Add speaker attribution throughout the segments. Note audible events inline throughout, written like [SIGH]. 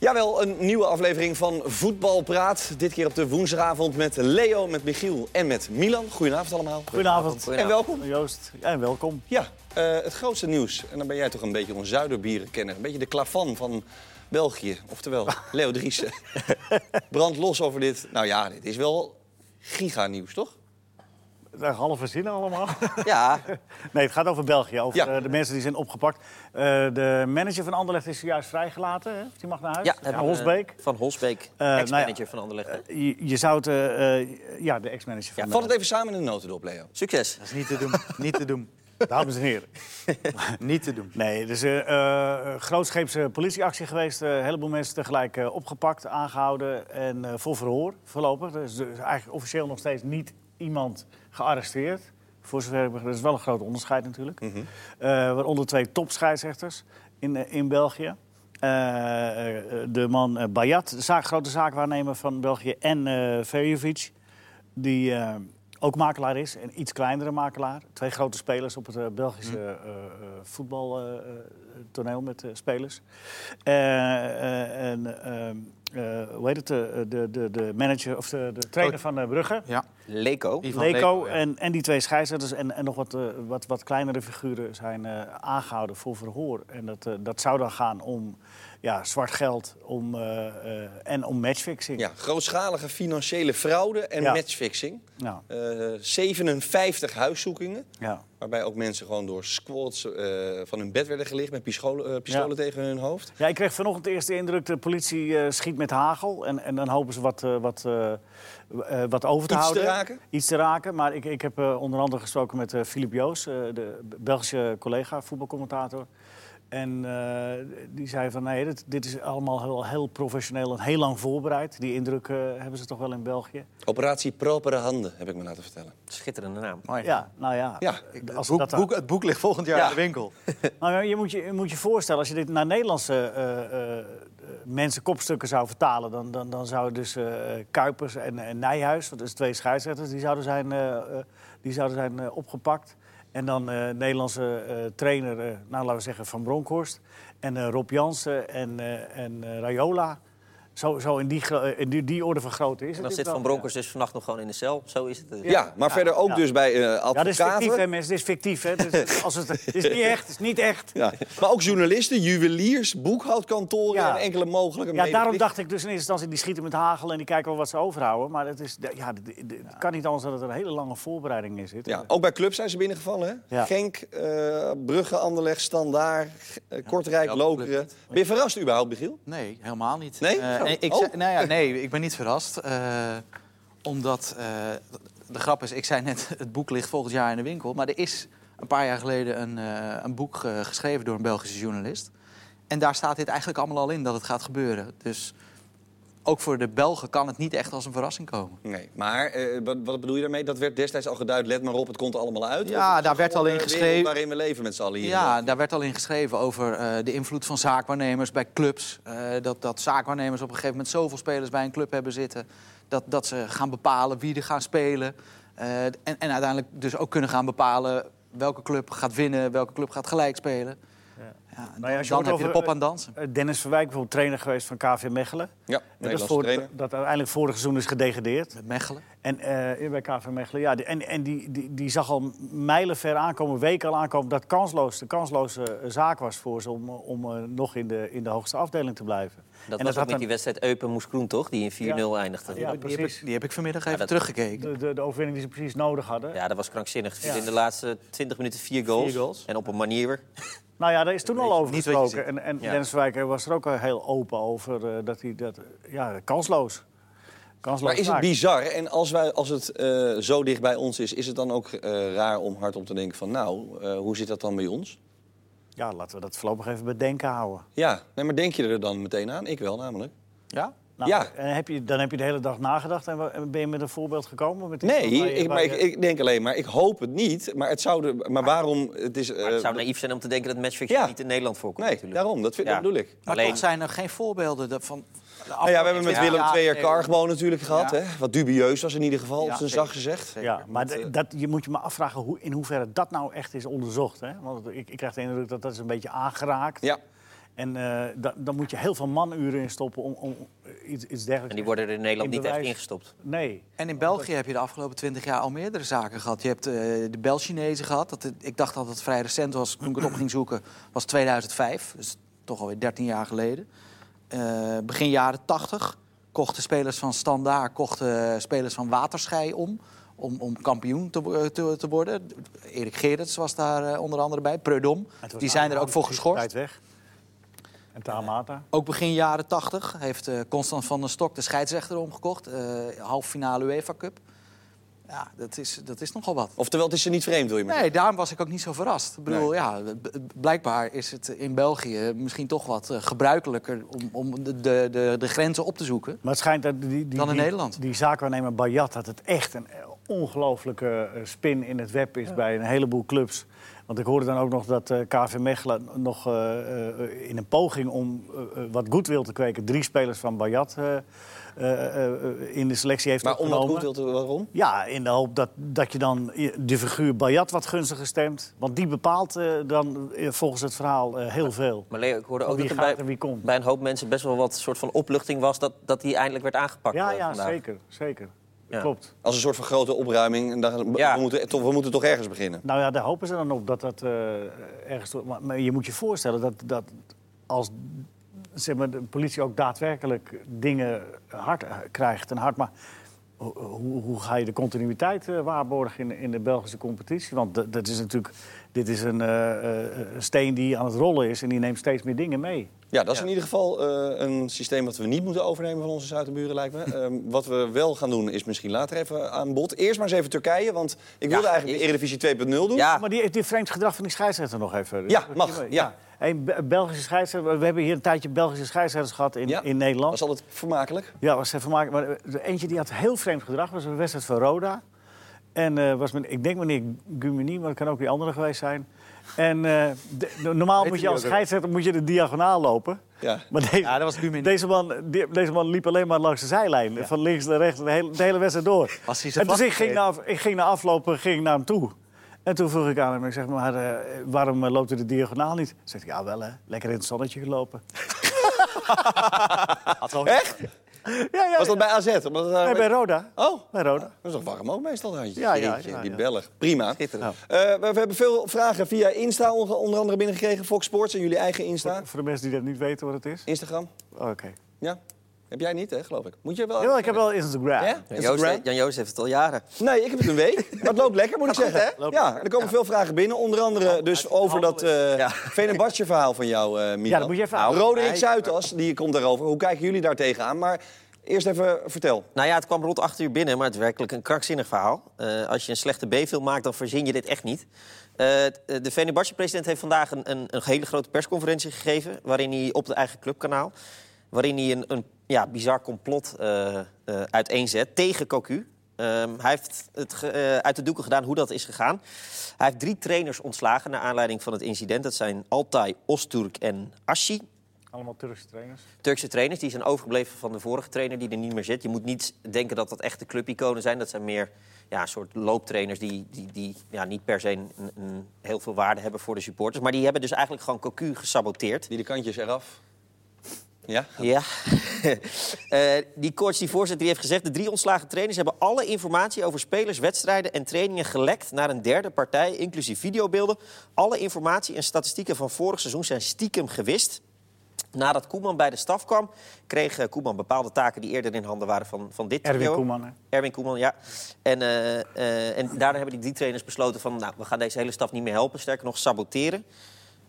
Speaker 1: Jawel, een nieuwe aflevering van Voetbal Praat. Dit keer op de woensdagavond met Leo, met Michiel en met Milan. Goedenavond allemaal.
Speaker 2: Goedenavond.
Speaker 1: En welkom.
Speaker 2: Joost, ja, en welkom.
Speaker 1: Ja, eh, het grootste nieuws. En dan ben jij toch een beetje ons zuiderbierenkenner. Een beetje de klavan van België.
Speaker 2: [LAUGHS]
Speaker 1: Oftewel, Leo Driessen. Brand los over dit. Nou ja, dit is wel giganieuws, toch?
Speaker 2: Nou, Halve zinnen allemaal. [LAUGHS]
Speaker 1: Ja,
Speaker 2: Nee, het gaat over België, over
Speaker 1: Ja.
Speaker 2: eh, de mensen die zijn opgepakt. Eh, de manager van Anderlecht is juist vrijgelaten. Hè? Die mag naar huis.
Speaker 3: Ja, dat hebben we, eh,
Speaker 2: Holsbeek.
Speaker 3: Van Holsbeek,
Speaker 2: nou ja.
Speaker 3: ex-manager van Anderlecht. hè?
Speaker 2: Je, je zou het... eh, eh, ja, de ex-manager van
Speaker 1: vat het
Speaker 2: Anderlecht.
Speaker 1: even samen in de notendop, Leo.
Speaker 3: Succes.
Speaker 4: Dat is niet te doen. Niet te doen.
Speaker 2: Dames en heren.
Speaker 4: Niet te doen.
Speaker 2: Nee, dus eh eh, grootscheepse politieactie geweest. Eh, een heleboel mensen tegelijk eh, opgepakt, aangehouden en eh, voor verhoor voorlopig. Dus, er is eigenlijk officieel nog steeds niet iemand gearresteerd. Voor zover ik begrijp. Dat is wel een groot onderscheid natuurlijk. Eh, waaronder twee topscheidsrechters in, eh, in België. Eh, eh, de man eh, Bayat, de zaak, grote zaakwaarnemer van België, en eh Verjovic, die eh, ook makelaar is, een iets kleinere makelaar. Twee grote spelers op het eh, Belgische voetbaltoneel met eh, spelers. Eh, eh, en, eh, eh, hoe heet het? eh, de, de, de manager of de, de trainer van eh, Brugge.
Speaker 4: Ja.
Speaker 3: Leco.
Speaker 4: Ivan
Speaker 2: Leko,
Speaker 4: ja.
Speaker 2: en, en die twee scheidsrechters en, en nog wat, eh, wat, wat kleinere figuren zijn eh, aangehouden voor verhoor. En dat, eh, dat zou dan gaan om ja, zwart geld om, eh, eh, en om matchfixing.
Speaker 1: Ja, grootschalige financiële fraude en
Speaker 2: Ja.
Speaker 1: matchfixing.
Speaker 2: Ja,
Speaker 1: Eh, 57 huiszoekingen.
Speaker 2: Nou, ja.
Speaker 1: Waarbij ook mensen gewoon door squads eh, van hun bed werden gelicht met pistolen, eh, pistolen
Speaker 2: Ja.
Speaker 1: tegen hun hoofd.
Speaker 2: ja, ik kreeg vanochtend de eerste indruk, de politie eh, schiet met hagel. En, en dan hopen ze wat, eh, wat, eh, eh, wat over te
Speaker 1: Iets te
Speaker 2: houden.
Speaker 1: raken?
Speaker 2: Iets te raken. Maar ik, ik heb eh, onder andere gesproken met eh Filip Joos, eh, de Belgische collega, voetbalcommentator. En eh, die zei van nee, dit, dit is allemaal heel, heel professioneel en heel lang voorbereid. Die indruk eh, hebben ze toch wel in België.
Speaker 1: Operatie Propere Handen, heb ik me laten vertellen.
Speaker 3: Schitterende naam.
Speaker 4: Mooi.
Speaker 2: Ja, nou ja.
Speaker 1: Ja,
Speaker 4: Het, boek,
Speaker 2: dat-
Speaker 4: boek- het boek ligt volgend jaar
Speaker 1: Ja.
Speaker 4: in de winkel.
Speaker 2: Nou, ja, je, moet je, je moet je voorstellen, als je dit naar Nederlandse eh, eh, mensen kopstukken zou vertalen... dan, dan, dan zouden dus eh, Kuipers en, en Nijhuis, dat is twee scheidsrechters... die zouden zijn, eh, eh, die zouden zijn eh, opgepakt. En dan eh, Nederlandse eh, trainer, eh, nou, laten we zeggen Van Bronckhorst... en eh, Rob Jansen en, eh, en eh, Raiola. Zo, zo in, die, gro- eh, in die, die orde van grootte is
Speaker 3: En
Speaker 2: het.
Speaker 3: dan
Speaker 2: dit
Speaker 3: zit
Speaker 2: wel,
Speaker 3: Van Bronkers dus vannacht nog gewoon in de cel. Zo is het.
Speaker 1: Ja, maar verder ook
Speaker 2: ja.
Speaker 1: dus bij eh
Speaker 2: Ja, dit is fictief, hè,
Speaker 1: advocaten.
Speaker 2: mensen. Dit is fictief, hè. Dit is- als het, het is niet echt, het is niet echt.
Speaker 1: Ja, maar ook journalisten, juweliers, boekhoudkantoren
Speaker 2: Ja.
Speaker 1: en enkele mogelijke
Speaker 2: Ja, daarom
Speaker 1: medeplicht-
Speaker 2: dacht ik dus in eerste instantie, die schieten met hagel en die kijken wel wat ze overhouden. Maar het, is, ja, het, het- het kan niet anders dan dat er een hele lange voorbereiding in zit.
Speaker 1: Ja, ook bij clubs zijn ze binnengevallen. Hè?
Speaker 2: Ja.
Speaker 1: Genk, eh, Brugge, Anderlecht, Standaard, eh, Kortrijk,
Speaker 3: Ja,
Speaker 1: Lokeren. Ben je verrast überhaupt, Michiel?
Speaker 4: Nee, helemaal niet.
Speaker 1: Nee?
Speaker 4: Eh,
Speaker 1: Zo.
Speaker 4: en ik,
Speaker 1: Oh.
Speaker 4: zei- nou ja, nee, ik ben niet verrast. eh, omdat, eh, de grap is, ik zei net, het boek ligt volgend jaar in de winkel. Maar er is een paar jaar geleden een, eh, een boek eh, geschreven door een Belgische journalist. En daar staat dit eigenlijk allemaal al in, dat het gaat gebeuren. Dus ook voor de Belgen kan het niet echt als een verrassing komen.
Speaker 1: Nee, maar eh, wat, wat bedoel je daarmee? Dat werd destijds al geduid, let maar op, het komt er allemaal uit.
Speaker 4: Ja,
Speaker 1: Of het is
Speaker 4: daar werd
Speaker 1: gewoon eh,
Speaker 4: al in
Speaker 1: de wereld
Speaker 4: geschreven-
Speaker 1: waarin we leven met z'n allen hier.
Speaker 4: Ja, daar werd al in geschreven over eh, de invloed van zaakwaarnemers bij clubs. Eh, dat, dat zaakwaarnemers op een gegeven moment zoveel spelers bij een club hebben zitten. Dat, dat ze gaan bepalen wie er gaan spelen. Eh, en, en uiteindelijk dus ook kunnen gaan bepalen welke club gaat winnen, welke club gaat gelijk spelen. Ja. dan
Speaker 2: Nou ja, als je
Speaker 4: dan
Speaker 2: hoort
Speaker 4: heb je de
Speaker 2: over,
Speaker 4: pop aan dansen.
Speaker 2: Eh, Dennis Verwijk, bijvoorbeeld trainer geweest van KV Mechelen.
Speaker 1: Ja,
Speaker 2: Dat, is
Speaker 1: Nederlandse
Speaker 2: voor,
Speaker 1: trainer.
Speaker 2: dat uiteindelijk vorig seizoen is gedegradeerd.
Speaker 4: Met Mechelen.
Speaker 2: En eh, bij KV Mechelen, ja. die- En, en die, die, die zag al mijlenver aankomen, weken al aankomen... dat kansloos, de kansloze eh, zaak was voor ze om, eh, om eh, nog in de, in de hoogste afdeling te blijven.
Speaker 3: Dat
Speaker 2: en
Speaker 3: was ook met
Speaker 2: dan-
Speaker 3: die wedstrijd Eupen Moes Kroen, toch? Die in 4-0 eindigde.
Speaker 2: Ja,
Speaker 3: Ja.
Speaker 4: Die heb,
Speaker 2: precies.
Speaker 4: ik, die heb ik vanmiddag even
Speaker 3: dat-
Speaker 4: teruggekeken.
Speaker 2: De, de, de overwinning die ze precies nodig hadden.
Speaker 3: dat was krankzinnig.
Speaker 2: Ja.
Speaker 3: In de laatste 20 minuten vier goals.
Speaker 4: Vier goals.
Speaker 3: En op een manier.
Speaker 2: Nou ja, daar is toen al over
Speaker 4: niet wat je
Speaker 2: gesproken. En, en
Speaker 3: Ja.
Speaker 2: Dennis Verwijk was er ook al heel open over. eh, dat hij dat, ja, kansloos. kansloos
Speaker 1: Maar is het
Speaker 2: maakt.
Speaker 1: bizar? En als, wij, als het eh, zo dicht bij ons is, is het dan ook eh, raar om hardop te denken van... nou, eh, hoe zit dat dan bij ons?
Speaker 2: Ja, laten we dat voorlopig even bedenken houden.
Speaker 1: Ja, nee, maar denk je er dan meteen aan? Ik wel namelijk.
Speaker 4: Ja?
Speaker 2: Nou,
Speaker 1: Ja.
Speaker 2: en heb je, dan heb je de hele dag nagedacht en wa- en ben je met een voorbeeld gekomen? Met iets
Speaker 1: Nee,
Speaker 2: waar je-
Speaker 1: ik,
Speaker 2: eh, waar
Speaker 1: maar ik,
Speaker 2: je-
Speaker 1: ik denk alleen maar, ik hoop het niet. Maar, het zou er, maar waarom? Het is,
Speaker 3: Maar het
Speaker 1: eh,
Speaker 3: zou naïef zijn om te denken dat matchfixing
Speaker 1: Ja.
Speaker 3: niet in Nederland voorkomt.
Speaker 1: nee,
Speaker 3: natuurlijk.
Speaker 1: daarom, dat, vind,
Speaker 3: Ja.
Speaker 1: dat bedoel ik.
Speaker 4: Maar
Speaker 3: Alleen-
Speaker 4: toch zijn er geen voorbeelden dat van...
Speaker 1: Nou ja, we hebben met
Speaker 4: Ja,
Speaker 1: Willem
Speaker 4: ja,
Speaker 1: II
Speaker 4: nee.
Speaker 1: Cargo natuurlijk gehad.
Speaker 4: Ja.
Speaker 1: Hè? Wat dubieus was in ieder geval,
Speaker 4: Ja,
Speaker 1: op zijn
Speaker 4: zeker.
Speaker 1: zacht gezegd.
Speaker 4: Zeker.
Speaker 2: ja, maar
Speaker 1: eh,
Speaker 2: d- dat, je moet je maar afvragen hoe, in hoeverre dat nou echt is onderzocht. Hè? Want ik, ik krijg de indruk dat dat is een beetje aangeraakt.
Speaker 1: Ja,
Speaker 2: En eh, da- dan moet je heel veel manuren in stoppen om, om iets, iets dergelijks.
Speaker 3: En die worden er in Nederland
Speaker 2: In
Speaker 3: niet echt
Speaker 2: bewijs-
Speaker 3: ingestopt.
Speaker 2: Nee.
Speaker 4: En in België heb je de afgelopen twintig jaar al meerdere zaken gehad. Je hebt eh, de Bel-Chinezen gehad. Dat, ik dacht dat het vrij recent was. Toen ik het op ging zoeken, was 2005. Dus toch alweer 13 jaar geleden. Eh, begin jaren 80 kochten spelers van Standaard kochten spelers van Waterschei om. Om, om kampioen te, wo- eh, te, te worden. Erik Gerrits was daar eh, onder andere bij. Preudom.
Speaker 2: Het was
Speaker 4: Die zijn er
Speaker 2: allemaal
Speaker 4: ook voor
Speaker 2: de
Speaker 4: geschorst.
Speaker 2: tijd weg. En Tamata.
Speaker 4: Ook begin jaren 80 heeft eh, Constant van der Stok de scheidsrechter omgekocht. eh half finale UEFA Cup. Ja, dat is, dat is nogal wat.
Speaker 1: Oftewel, het is ze niet vreemd, wil je maar
Speaker 4: Nee, daarom was ik ook niet zo verrast. Ik bedoel, ja, b- b- blijkbaar is het in België misschien toch wat eh, gebruikelijker om, om de, de, de, de grenzen op te zoeken.
Speaker 2: Maar het schijnt dat die, die,
Speaker 4: Dan in
Speaker 2: die,
Speaker 4: Nederland.
Speaker 2: die zaakwaarnemer Bayat dat het echt een eh, ongelooflijke eh, spin in het web is bij een heleboel clubs. Want ik hoorde dan ook nog dat eh, KV Mechelen nog eh, eh, in een poging om eh, eh, wat goodwill te kweken... drie spelers van Bayat eh, eh, eh, eh, in de selectie heeft
Speaker 1: Maar om wat
Speaker 2: opgenomen.
Speaker 1: goed wil te waarom?
Speaker 2: Ja, in de hoop dat, dat je dan i- de figuur Bayat wat gunstiger stemt. Want die bepaalt eh, dan eh, volgens het verhaal eh, heel veel.
Speaker 3: Maar Leo, ik hoorde
Speaker 2: Van
Speaker 3: ook
Speaker 2: wie
Speaker 3: dat er
Speaker 2: gaat en
Speaker 3: bij,
Speaker 2: wie komt.
Speaker 3: bij een hoop mensen best wel wat soort van opluchting was dat, dat die eindelijk werd aangepakt.
Speaker 2: Ja,
Speaker 3: eh,
Speaker 2: ja,
Speaker 3: vandaag.
Speaker 2: zeker. zeker.
Speaker 3: Ja.
Speaker 2: Klopt.
Speaker 1: Als een soort van grote opruiming. En dan,
Speaker 3: Ja.
Speaker 1: we, moeten, toch- we moeten toch ergens beginnen.
Speaker 2: Nou ja, daar hopen ze dan op dat dat eh, ergens... door- Maar, maar je moet je voorstellen dat, dat als zeg maar, de politie ook daadwerkelijk dingen hard eh, krijgt en hard... Maar ho- hoe, hoe ga je de continuïteit eh, waarborgen in, in de Belgische competitie? Want dat- dat is natuurlijk... Dit is een eh, eh, een steen die aan het rollen is en die neemt steeds meer dingen mee.
Speaker 1: Ja, dat is
Speaker 3: Ja.
Speaker 1: in ieder geval eh, een systeem dat we niet moeten overnemen van onze Zuidenburen, lijkt me. Ehm, [LAUGHS] wat we wel gaan doen is misschien later even aan bod. Eerst maar eens even Turkije, want ik wilde eigenlijk de Eredivisie 2.0 doen.
Speaker 3: Ja,
Speaker 2: Maar die, die vreemd gedrag van die scheidsrechter nog even.
Speaker 1: Ah. Ja, mag, ja.
Speaker 2: Een Be- Belgische scheidsrechter. We hebben hier een tijdje Belgische scheidsrechters gehad in,
Speaker 1: Ja.
Speaker 2: in
Speaker 1: Dat
Speaker 2: Nederland.
Speaker 1: is altijd vermakelijk.
Speaker 2: Ja, was even maken. Maar er eentje die had heel vreemd gedrag. was een wedstrijd van Roda. En eh, was men, ik denk meneer Gumini, maar dat kan ook die andere geweest zijn. En eh, de- de- normaal moet je als scheidsrechter moet je de diagonaal lopen.
Speaker 1: Ja.
Speaker 2: Maar deze,
Speaker 4: Ja, dat was Gumini.
Speaker 2: deze, man, die- deze man liep alleen maar langs de zijlijn. Van links naar rechts, de hele, de hele wedstrijd door.
Speaker 4: Was hij zijn
Speaker 2: en dus
Speaker 4: vak
Speaker 2: ik ging, na, ik ging na aflopen ging naar hem toe. En toen vroeg ik aan hem, ik zeg maar, eh, waarom eh, loopt u de diagonaal niet? Zegt hij, ja wel hè, lekker in het zonnetje gelopen.
Speaker 1: Echt?
Speaker 2: Ja, ja,
Speaker 1: Was dat bij AZ? Omdat het daar-
Speaker 2: nee, bij Roda.
Speaker 1: Oh,
Speaker 2: Bij Roda.
Speaker 1: dat is toch warm ook meestal? Dan?
Speaker 2: Ja, ja,
Speaker 1: Jeetje,
Speaker 2: ja,
Speaker 1: Die
Speaker 2: ja.
Speaker 1: Belg. Prima. Eh, maar we hebben veel vragen via Insta onder onder andere binnengekregen. Fox Sports en jullie eigen Insta.
Speaker 2: Voor de mensen die dat niet weten wat het is. Oh,
Speaker 1: Instagram.
Speaker 2: Oké.
Speaker 1: Ja. Heb jij niet, hè, geloof ik. Moet je wel...
Speaker 2: Jawel, ik heb wel Instagram.
Speaker 1: Ja?
Speaker 3: Jan Joost,
Speaker 1: Instagram?
Speaker 3: Jan Joost heeft het al jaren.
Speaker 1: Nee, ik heb het een [LAUGHS] week. Maar het loopt lekker, moet ik zeggen. hè? Ja, er komen veel vragen binnen. Onder andere dus over dat eh Fenerbahce-verhaal van jou, eh Milan.
Speaker 2: Ja, dat moet je even
Speaker 1: Nou,
Speaker 2: houden.
Speaker 1: Roderick Zuidas, die komt daarover. Hoe kijken jullie daar tegenaan? Maar eerst even eh, vertel.
Speaker 3: Nou ja, het kwam rond 8 uur binnen, maar het is werkelijk een krankzinnig verhaal. Eh, als je een slechte B-film maakt, dan verzin je dit echt niet. Eh, t- eh, de Fenerbahce-president heeft vandaag een, een, een hele grote persconferentie gegeven... waarin hij op het eigen clubkanaal... waarin hij een, een ja, bizar complot eh, eh, uiteenzet tegen Cocu. Ehm, hij heeft het ge- eh, uit de doeken gedaan hoe dat is gegaan. Hij heeft drie trainers ontslagen naar aanleiding van het incident. Dat zijn Altay, Osturk en Ashi.
Speaker 2: Allemaal Turkse trainers.
Speaker 3: Turkse trainers die zijn overgebleven van de vorige trainer die er niet meer zit. Je moet niet denken dat dat echte clubiconen zijn. Dat zijn meer ja, een soort looptrainers die, die, die ja, niet per se een, een heel veel waarde hebben voor de supporters. Maar die hebben dus eigenlijk gewoon Cocu gesaboteerd.
Speaker 1: Die de kantjes eraf. Ja?
Speaker 3: Ja. [LAUGHS] Eh, die coach, die voorzitter, die heeft gezegd... de drie ontslagen trainers hebben alle informatie over spelers, wedstrijden en trainingen gelekt... naar een derde partij, inclusief videobeelden. Alle informatie en statistieken van vorig seizoen zijn stiekem gewist. Nadat Koeman bij de staf kwam, kreeg eh, Koeman bepaalde taken... die eerder in handen waren van, van dit
Speaker 2: Erwin
Speaker 3: trio.
Speaker 2: Koeman, hè?
Speaker 3: Erwin Koeman, ja. En, eh, eh, en daardoor hebben die drie trainers besloten van... nou, we gaan deze hele staf niet meer helpen, sterker nog saboteren.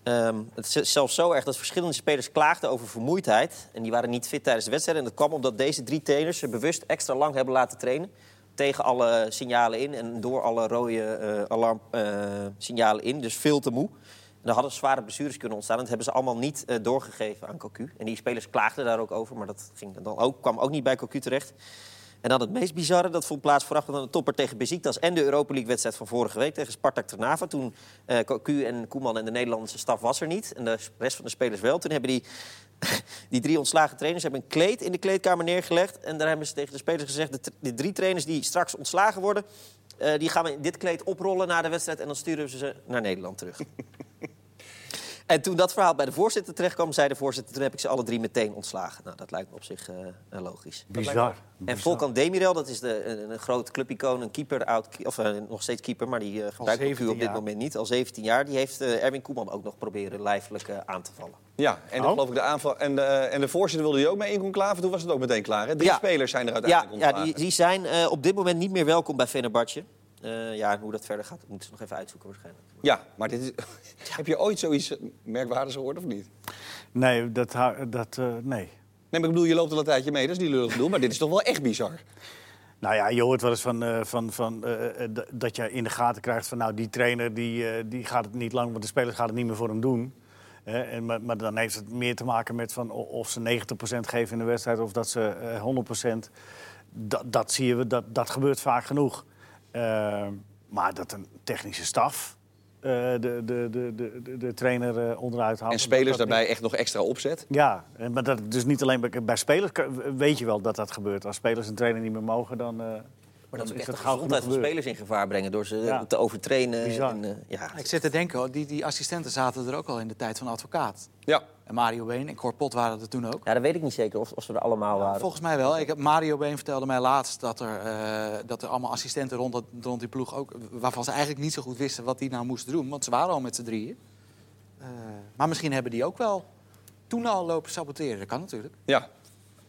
Speaker 3: Ehm, het is zelfs zo erg dat verschillende spelers klaagden over vermoeidheid. En die waren niet fit tijdens de wedstrijd. En dat kwam omdat deze drie trainers ze bewust extra lang hebben laten trainen. Tegen alle signalen in en door alle rode eh, alarmsignalen in. Dus veel te moe. En er hadden zware blessures kunnen ontstaan. En dat hebben ze allemaal niet eh, doorgegeven aan Cocu. En die spelers klaagden daar ook over. Maar dat ging dan ook, kwam ook niet bij Cocu terecht. En dan het meest bizarre, dat vond plaats vooraf aan de topper tegen Besiktas... en de Europa League-wedstrijd van vorige week tegen Spartak Trnava. Toen eh Cocu en Koeman en de Nederlandse staf was er niet. En de rest van de spelers wel. Toen hebben die, [LAUGHS] die drie ontslagen trainers hebben een kleed in de kleedkamer neergelegd. En daar hebben ze tegen de spelers gezegd... de, tr- de drie trainers die straks ontslagen worden... eh, die gaan we in dit kleed oprollen na de wedstrijd... en dan sturen we ze naar Nederland terug. En toen dat verhaal bij de voorzitter terechtkwam, zei de voorzitter... toen heb ik ze alle drie meteen ontslagen. Nou, dat lijkt me op zich eh, eh, logisch.
Speaker 2: Bizar.
Speaker 3: En Volkan Demirel, dat is de, een, een groot clubicoon, een keeper, oud, of eh, nog steeds keeper, maar die eh, gebruikt de
Speaker 4: 17
Speaker 3: Q op dit
Speaker 4: jaar.
Speaker 3: moment niet. Al 17 jaar, die heeft eh, Erwin Koeman ook nog proberen lijfelijk eh, aan te vallen.
Speaker 1: Ja, en dan
Speaker 2: Oh.
Speaker 1: geloof ik de aanval. En de, eh, en de voorzitter wilde je ook mee in conclave. Toen was het ook meteen klaar. Hè? Drie
Speaker 3: Ja.
Speaker 1: spelers zijn er
Speaker 3: Ja,
Speaker 1: uiteindelijk
Speaker 3: ja
Speaker 1: ontslagen.
Speaker 3: die, die zijn eh, op dit moment niet meer welkom bij Fenerbahce. Eh, ja, en hoe dat verder gaat, dat moeten ze nog even uitzoeken waarschijnlijk.
Speaker 1: Ja, maar dit is... [LAUGHS] heb je ooit zoiets eh, merkwaardigs gehoord of niet?
Speaker 2: Nee, dat... hou- dat eh, nee.
Speaker 1: Nee, maar ik bedoel, je loopt al een tijdje mee. Dat is niet lullig bedoel, maar dit is toch wel echt bizar.
Speaker 2: Nou ja, je hoort wel eens van, eh, van, van, eh, eh, d- dat je in de gaten krijgt van... nou, die trainer die, eh, die gaat het niet lang, want de spelers gaan het niet meer voor hem doen. Hè, en, maar, maar dan heeft het meer te maken met van o- of ze 90% geven in de wedstrijd of dat ze eh, 100%. Dat, dat zie je, dat, dat gebeurt vaak genoeg. Eh, maar dat een technische staf eh, de, de, de, de, de, de trainer eh, onderuit haalt...
Speaker 1: En
Speaker 2: dat dat
Speaker 1: spelers
Speaker 2: niet-
Speaker 1: daarbij echt nog extra opzet.
Speaker 2: ja, en- maar dat het dus niet alleen bij, bij spelers. kan- Weet je wel dat dat gebeurt. Als spelers een trainer niet meer mogen, dan. eh,
Speaker 3: Maar
Speaker 2: dan
Speaker 3: dat is echt de
Speaker 2: gauw
Speaker 3: gezondheid van
Speaker 2: genoeg gebeurd.
Speaker 3: spelers in gevaar brengen door ze
Speaker 2: Ja.
Speaker 3: te overtrainen.
Speaker 2: Bizar.
Speaker 3: En, eh, ja,
Speaker 4: Ik zit te denken, oh, die, die assistenten zaten er ook al in de tijd van advocaat.
Speaker 1: Ja.
Speaker 4: En Mario Been en Cor Pot waren er toen ook.
Speaker 3: ja, Nou, dat weet ik niet zeker of, of ze er allemaal waren.
Speaker 4: Volgens mij wel. Ik heb, Mario Been vertelde mij laatst dat er, eh, dat er allemaal assistenten rond, dat, rond die ploeg ook... waarvan ze eigenlijk niet zo goed wisten wat die nou moesten doen. Want ze waren al met z'n drieën. Eh, maar misschien hebben die ook wel toen al lopen saboteren. Dat kan natuurlijk.
Speaker 1: Ja.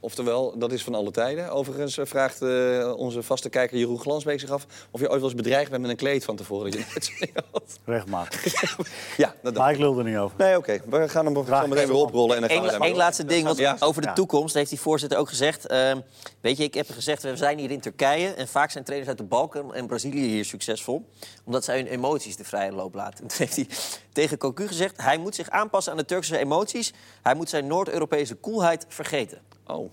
Speaker 1: Oftewel, dat is van alle tijden. Overigens eh, vraagt eh, onze vaste kijker Jeroen Glansbeek zich af... of je ooit wel eens bedreigd bent met een kleed van tevoren. Dat [LAUGHS] je net zo mee had.
Speaker 3: [LAUGHS]
Speaker 2: Regelmatig.
Speaker 1: ja, dat
Speaker 2: Maar ik lul er niet over.
Speaker 1: Nee, oké. We gaan hem zo meteen weer oprollen. En dan gaan we
Speaker 3: Eén,
Speaker 1: daar maar
Speaker 3: één laatste ding, want
Speaker 1: Ja.
Speaker 3: over de
Speaker 2: Ja.
Speaker 3: toekomst heeft die voorzitter ook gezegd. ehm, weet je, ik heb gezegd, we zijn hier in Turkije. En vaak zijn trainers uit de Balkan en Brazilië hier succesvol. Omdat zij hun emoties de vrije loop laten. [LAUGHS] En toen heeft hij tegen Cocu gezegd, hij moet zich aanpassen aan de Turkse emoties. Hij moet zijn Noord-Europese koelheid vergeten.
Speaker 1: Oh,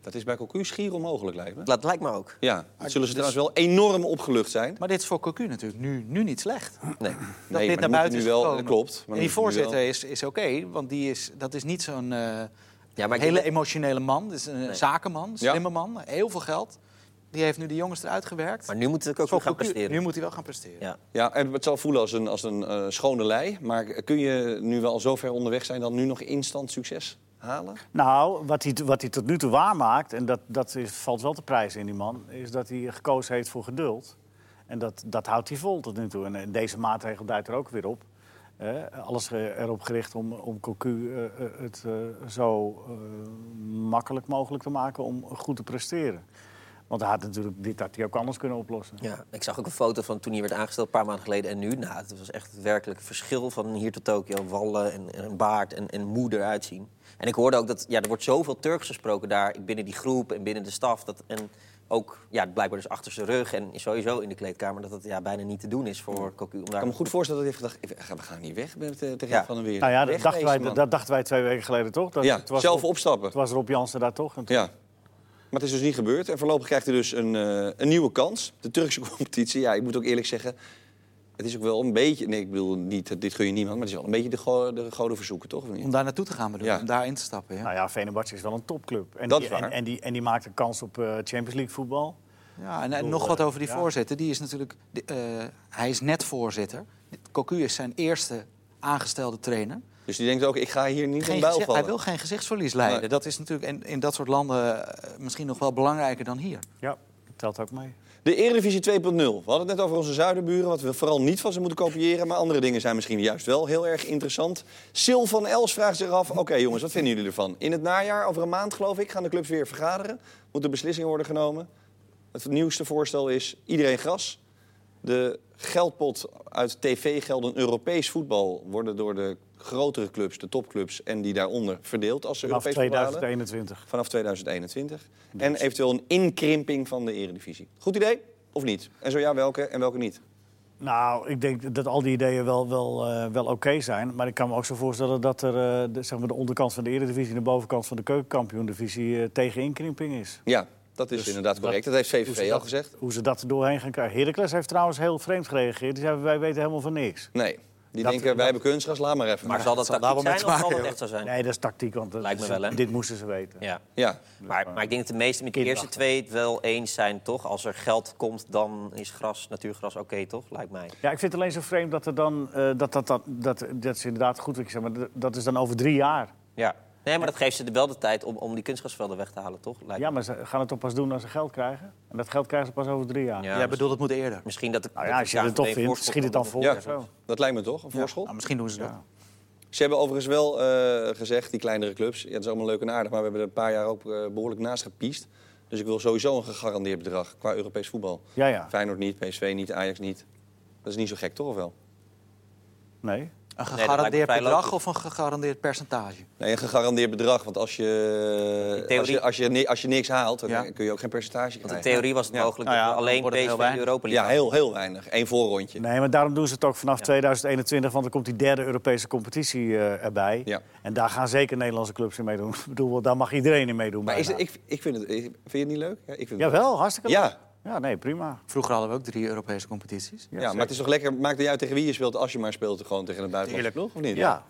Speaker 1: dat is bij Cocu schier onmogelijk, lijkt me.
Speaker 3: Dat lijkt me ook.
Speaker 1: Ja, Dus- dat zullen ze trouwens wel enorm opgelucht zijn.
Speaker 4: Maar dit is voor Cocu natuurlijk nu, nu niet slecht.
Speaker 3: Nee.
Speaker 1: maar
Speaker 4: dit
Speaker 1: moet
Speaker 4: naar buiten
Speaker 1: nu
Speaker 4: is
Speaker 1: wel,
Speaker 4: gekomen.
Speaker 1: dat klopt. Maar
Speaker 4: en die
Speaker 1: dat moet nu
Speaker 4: voorzitter is, is oké, want die is, dat is niet zo'n eh,
Speaker 3: Ja, maar ik
Speaker 4: hele
Speaker 3: denk-
Speaker 4: emotionele man. Dat is een zakenman,
Speaker 1: Ja.
Speaker 4: slimme man, heel veel geld. Die heeft nu de jongens eruit gewerkt.
Speaker 3: Maar nu moet het ook
Speaker 4: Voor
Speaker 3: weer gaan
Speaker 4: Cocu-
Speaker 3: presteren.
Speaker 4: Nu moet hij wel gaan presteren.
Speaker 3: Ja.
Speaker 1: Ja, en het zal voelen als een, als een eh, schone lei. Maar kun je nu wel zo ver onderweg zijn dan nu nog instant succes halen?
Speaker 2: Nou, wat hij, wat hij tot nu toe waarmaakt, en dat, dat is, valt wel te prijzen in die man, is dat hij gekozen heeft voor geduld. En dat, dat houdt hij vol tot nu toe. En, eh, deze maatregel duidt er ook weer op. Eh, alles eh, erop gericht om, om Cocu eh, eh, het eh, zo eh, makkelijk mogelijk te maken om goed te presteren. Want hij had natuurlijk dit had hij ook anders kunnen oplossen.
Speaker 3: Ja, ik zag ook een foto van toen hij werd aangesteld, een paar maanden geleden en nu. Nou, het was echt werkelijk een verschil van hier tot Tokio. Wallen en, en een baard en, en moeder uitzien. En ik hoorde ook dat ja, er wordt zoveel Turks gesproken daar binnen die groep en binnen de staf. Dat, en ook ja, blijkbaar dus achter zijn rug en sowieso in de kleedkamer. Dat het ja, bijna niet te doen is voor Cocu. Om
Speaker 1: Ik
Speaker 3: daar...
Speaker 1: kan me goed voorstellen dat hij heeft gedacht... "Ik- We gaan niet weg met de de
Speaker 3: Nou, Ja.
Speaker 1: van de wereld.
Speaker 2: Nou ja, dat
Speaker 1: Weg
Speaker 2: dachten,
Speaker 1: wezen,
Speaker 2: wij,
Speaker 1: man.
Speaker 2: dat dachten wij twee weken geleden toch? Dat,
Speaker 1: Ja,
Speaker 2: het was
Speaker 1: zelf
Speaker 2: Rob-
Speaker 1: opstappen.
Speaker 2: Het was Rob Jansen daar toch?
Speaker 1: Ja. Maar het is dus niet gebeurd. En voorlopig krijgt hij dus een, eh, een nieuwe kans. De Turkse [LAUGHS] competitie. Ja, ik moet ook eerlijk zeggen... Het is ook wel een beetje... Nee, ik bedoel, niet, dit gun je niemand. Maar het is wel een beetje de, go de goden verzoeken, toch? Of niet?
Speaker 4: Om daar naartoe te gaan bedoel ik,
Speaker 1: Ja.
Speaker 4: om daar in te stappen. Ja.
Speaker 2: Nou ja, Venerbahce is wel een topclub. En
Speaker 1: Dat
Speaker 2: die,
Speaker 1: is waar.
Speaker 2: En, en die, en die maakt een kans op eh, Champions League voetbal.
Speaker 4: Ja, en, en nog wat over die
Speaker 2: ja.
Speaker 4: voorzitter. Die is natuurlijk, die, eh, hij is net voorzitter. Cocu is zijn eerste aangestelde trainer.
Speaker 1: Dus die denkt ook, ik ga hier niet
Speaker 4: Geen
Speaker 1: in buil
Speaker 4: gezicht-
Speaker 1: vallen.
Speaker 4: hij wil geen gezichtsverlies leiden.
Speaker 1: Nee.
Speaker 4: Dat is natuurlijk in, in dat soort landen eh, misschien nog wel belangrijker dan hier.
Speaker 2: Ja, dat telt ook mee.
Speaker 1: De Eredivisie 2.0. We hadden het net over onze zuidenburen, wat we vooral niet van ze moeten kopiëren. Maar andere dingen zijn misschien juist wel heel erg interessant. Sil van Els vraagt zich af, oké jongens, wat vinden jullie ervan? In het najaar, over een maand geloof ik, gaan de clubs weer vergaderen. Moeten beslissingen worden genomen. Het nieuwste voorstel is iedereen gras. De geldpot uit tv-gelden Europees voetbal worden door de grotere clubs, de topclubs en die daaronder verdeeld als ze
Speaker 2: Vanaf
Speaker 1: Europees voetbal halen.
Speaker 2: 2021.
Speaker 1: vanaf 2021. En eventueel een inkrimping van de eredivisie. Goed idee of niet? En zo ja, welke en welke niet?
Speaker 2: Nou, ik denk dat al die ideeën wel, wel, eh, wel oké zijn. Maar ik kan me ook zo voorstellen dat er eh, de, zeg maar de onderkant van de Eredivisie... en de bovenkant van de keukenkampioen-divisie eh, tegen inkrimping is.
Speaker 1: Ja, dat is inderdaad correct. Dat heeft
Speaker 2: Dus Hoe ze
Speaker 1: CVV al
Speaker 2: dat-
Speaker 1: gezegd.
Speaker 2: Hoe ze dat er doorheen gaan krijgen. Heracles heeft trouwens heel vreemd gereageerd. Die zei, wij weten helemaal van niks.
Speaker 1: Nee. Die
Speaker 2: Dat-
Speaker 1: denken, wij hebben kunstgras, laat maar even.
Speaker 3: Maar zal dat
Speaker 4: zal
Speaker 3: tactiek
Speaker 4: daarom
Speaker 3: zijn
Speaker 4: met
Speaker 3: of zal
Speaker 4: maken,
Speaker 3: dat
Speaker 4: joh.
Speaker 3: echt zo zijn?
Speaker 2: Nee, dat is tactiek, want dat-
Speaker 3: Lijkt me wel, hè?
Speaker 2: dit moesten ze weten.
Speaker 3: Ja.
Speaker 1: Ja,
Speaker 3: Maar, maar ik denk dat de meesten met de eerste
Speaker 2: Kinderachtig.
Speaker 3: twee het wel eens zijn, toch? Als er geld komt, dan is gras, natuurgras oké, toch? Lijkt mij.
Speaker 2: Ja, ik vind het alleen zo vreemd dat er dan... eh, dat, dat, dat, dat, dat is inderdaad goed wat je zegt, maar dat- dat is dan over drie jaar.
Speaker 3: Ja. Nee, maar dat geeft ze er wel de tijd om, om die kunstgrasvelden weg te halen, toch? Lijkt
Speaker 2: Ja,
Speaker 3: me.
Speaker 2: maar ze gaan het toch pas doen als ze geld krijgen? En dat geld krijgen ze pas over drie jaar.
Speaker 3: Ja,
Speaker 4: Jij bedoelt, het moet eerder.
Speaker 3: Misschien dat de,
Speaker 2: Nou ja, als je het toch vindt, schiet het dan vol.
Speaker 1: Ja.
Speaker 2: of zo.
Speaker 1: dat lijkt me toch, een voorschot.
Speaker 4: Nou, misschien doen ze dat.
Speaker 1: Ze hebben overigens wel eh, gezegd, die kleinere clubs, ja, dat is allemaal leuk en aardig, maar we hebben er een paar jaar ook eh, behoorlijk naast gepiest. Dus ik wil sowieso een gegarandeerd bedrag qua Europees voetbal.
Speaker 2: Ja, ja.
Speaker 1: Feyenoord niet, PSV niet, Ajax niet. Dat is niet zo gek, toch of wel?
Speaker 2: Nee.
Speaker 4: Een
Speaker 3: me
Speaker 4: gegarandeerd
Speaker 3: vrij
Speaker 4: bedrag
Speaker 3: logisch.
Speaker 4: of een gegarandeerd percentage?
Speaker 1: Nee, een gegarandeerd bedrag, want als je,
Speaker 3: theorie-
Speaker 1: als je, als je, ni- als je niks haalt, dan
Speaker 4: Ja.
Speaker 1: kun je ook geen percentage
Speaker 3: Want in
Speaker 1: krijgen.
Speaker 3: theorie was het
Speaker 1: Ja.
Speaker 3: mogelijk
Speaker 4: Nou ja,
Speaker 3: dat we
Speaker 4: dan
Speaker 3: alleen
Speaker 4: wordt het heel
Speaker 3: PSV in
Speaker 4: weinig.
Speaker 3: Europa League
Speaker 1: Ja, heel, heel weinig. Eén voorrondje.
Speaker 2: Nee, maar daarom doen ze het ook vanaf 2021, want dan komt die derde Europese competitie eh, erbij.
Speaker 1: Ja.
Speaker 2: En daar gaan zeker Nederlandse clubs in meedoen. [LAUGHS] ik bedoel, wel, daar mag iedereen in meedoen.
Speaker 1: Maar is het,
Speaker 2: bijna.
Speaker 1: ik, ik vind het, ik- vind je het niet leuk? Ja, ik vind het
Speaker 2: Jawel, hartstikke leuk.
Speaker 1: Ja.
Speaker 2: Ja, nee, prima.
Speaker 4: Vroeger hadden we ook drie Europese competities.
Speaker 1: Ja, maar het is toch lekker, maakt niet uit tegen wie je speelt, als je maar speelt gewoon tegen een buitenlandse ploeg, of niet?
Speaker 2: Ja.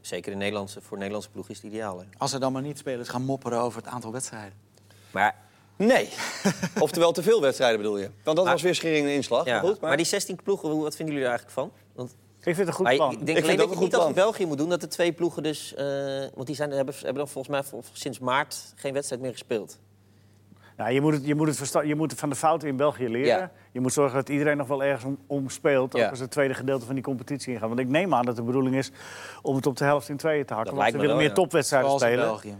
Speaker 3: Zeker in Nederlandse, voor Nederlandse ploeg is het ideaal. Hè?
Speaker 4: Als er dan maar niet spelers gaan mopperen over het aantal wedstrijden.
Speaker 3: Maar,
Speaker 1: Nee. Oftewel te veel wedstrijden bedoel je. Want dat was weer schering en inslag.
Speaker 3: ja.
Speaker 1: Maar goed, maar...
Speaker 3: maar die 16 ploegen, hoe- wat vinden jullie er eigenlijk van? Want
Speaker 2: Ik vind het een goed
Speaker 3: Maar
Speaker 2: plan.
Speaker 3: Ik denk
Speaker 1: Ik vind
Speaker 3: alleen
Speaker 1: het
Speaker 3: dat
Speaker 1: ook
Speaker 3: je
Speaker 1: een goed
Speaker 3: niet als
Speaker 1: plan.
Speaker 3: België moet doen dat de twee ploegen dus... eh, want die zijn, hebben, hebben dan volgens mij vol- sinds maart geen wedstrijd meer gespeeld.
Speaker 2: Nou, je, moet het, je, moet het versta- je moet het van de fouten in België leren.
Speaker 3: Ja.
Speaker 2: Je moet zorgen dat iedereen nog wel ergens om, om speelt. Ook
Speaker 3: Ja.
Speaker 2: als het tweede gedeelte van die competitie ingaat. Want ik neem aan dat de bedoeling is om het op de helft in tweeën te hakken.
Speaker 3: Dat
Speaker 2: want
Speaker 3: lijkt
Speaker 2: ze
Speaker 3: me
Speaker 2: willen
Speaker 3: wel,
Speaker 2: meer
Speaker 3: ja.
Speaker 2: topwedstrijden
Speaker 4: Zoals in
Speaker 2: spelen.
Speaker 4: België.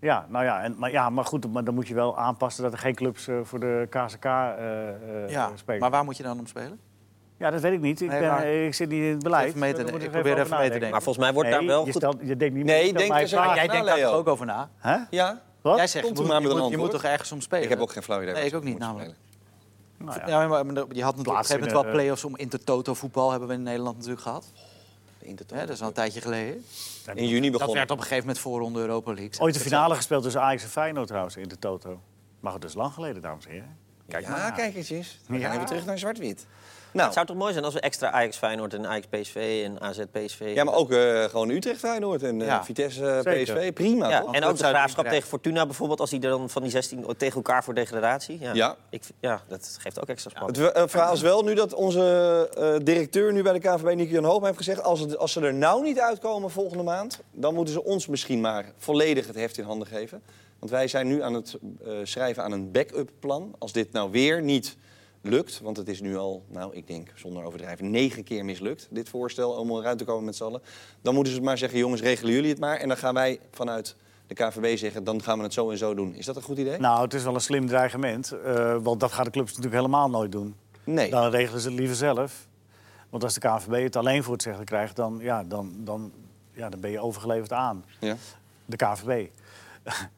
Speaker 2: Ja, nou ja, en, maar, ja, maar goed, maar dan moet je wel aanpassen dat er geen clubs eh, voor de KSK eh, eh,
Speaker 4: Ja,
Speaker 2: spelen.
Speaker 4: maar waar moet je dan om spelen?
Speaker 2: Ja, dat weet ik niet. Ik,
Speaker 4: Nee,
Speaker 2: ben,
Speaker 4: maar-
Speaker 2: eh, ik zit niet in het beleid.
Speaker 4: Even mee te-
Speaker 2: Daar moet
Speaker 4: ik
Speaker 2: ik
Speaker 4: probeer
Speaker 2: over
Speaker 4: even mee te
Speaker 2: nadenken.
Speaker 3: Maar volgens mij wordt
Speaker 2: Nee,
Speaker 3: daar wel
Speaker 2: je,
Speaker 3: goed...
Speaker 2: stelt, je denkt niet
Speaker 1: Nee,
Speaker 2: je stelt
Speaker 1: denk
Speaker 2: mij
Speaker 3: dus
Speaker 1: eens
Speaker 2: vragen.
Speaker 1: aan-
Speaker 4: jij
Speaker 1: na,
Speaker 4: denkt daar
Speaker 1: Leo.
Speaker 4: toch ook over na?
Speaker 2: Hè?
Speaker 1: Ja?
Speaker 2: Wat?
Speaker 4: Jij zegt,
Speaker 1: Komt
Speaker 4: je
Speaker 1: u
Speaker 4: moet,
Speaker 1: maar
Speaker 4: je
Speaker 1: met een
Speaker 4: moet- je moet
Speaker 1: antwoord.
Speaker 4: toch ergens om spelen?
Speaker 1: Ik heb ook geen flauw idee.
Speaker 4: Nee,
Speaker 1: waar
Speaker 4: ik ook
Speaker 1: ze
Speaker 4: niet,
Speaker 1: moeten
Speaker 4: namelijk.
Speaker 1: spelen.
Speaker 2: Nou ja.
Speaker 4: Ja, maar maar je had natuurlijk op een gegeven moment wel
Speaker 2: Plaatsvinden,
Speaker 4: play-offs om intertoto voetbal hebben we in Nederland natuurlijk gehad.
Speaker 1: De Intertoto.
Speaker 4: Hè, dat is al een tijdje geleden.
Speaker 1: In juni
Speaker 4: Dat
Speaker 1: begonnen.
Speaker 4: werd op een gegeven moment voorronde Europa League.
Speaker 2: Ooit de finale gespeeld tussen Ajax en Feyenoord trouwens in de Toto. Maar het is lang geleden, dames en heren.
Speaker 1: Kijk,
Speaker 2: maar
Speaker 1: ja,
Speaker 2: na.
Speaker 1: kijk eens. eens. Dan
Speaker 2: Ja.
Speaker 1: gaan we terug naar zwart-wit. Nou,
Speaker 3: Het zou toch mooi zijn als we extra Ajax Feyenoord en Ajax PSV en AZ PSV...
Speaker 1: ja, maar ook eh, gewoon Utrecht, Feyenoord en eh,
Speaker 4: Ja.
Speaker 1: Vitesse, eh,
Speaker 2: Zeker.
Speaker 1: PSV. Prima,
Speaker 3: Ja,
Speaker 1: toch?
Speaker 3: en ook de
Speaker 4: zou het
Speaker 3: graafschap
Speaker 4: niet
Speaker 3: tegen Fortuna bijvoorbeeld, als die er dan van die 16 tegen elkaar voor degradatie. Ja,
Speaker 1: Ja.
Speaker 3: Ik, vind- ja dat geeft ook extra
Speaker 1: Het
Speaker 3: spanning.
Speaker 1: we- eh, verhaal is wel nu dat onze eh, directeur nu bij de KVB, Nico Jan Hoogma, heeft gezegd... Als, het, als ze er nou niet uitkomen volgende maand... dan moeten ze ons misschien maar volledig het heft in handen geven. Want wij zijn nu aan het eh, schrijven aan een backup plan. Als dit nou weer niet lukt, want het is nu al, nou, ik denk zonder overdrijven... negen keer mislukt, dit voorstel, om eruit te komen met z'n allen. Dan moeten ze maar zeggen, jongens, regelen jullie het maar. En dan gaan wij vanuit de KVB zeggen, dan gaan we het zo en zo doen. Is dat een goed idee?
Speaker 2: Nou, het is wel een slim dreigement. eh, want dat gaan de clubs natuurlijk helemaal nooit doen.
Speaker 1: nee.
Speaker 2: Dan regelen ze het liever zelf. Want als de KNVB het alleen voor het zeggen krijgt, dan, ja, dan, dan, ja, dan ben je overgeleverd aan
Speaker 1: Ja.
Speaker 2: de KNVB. [LAUGHS]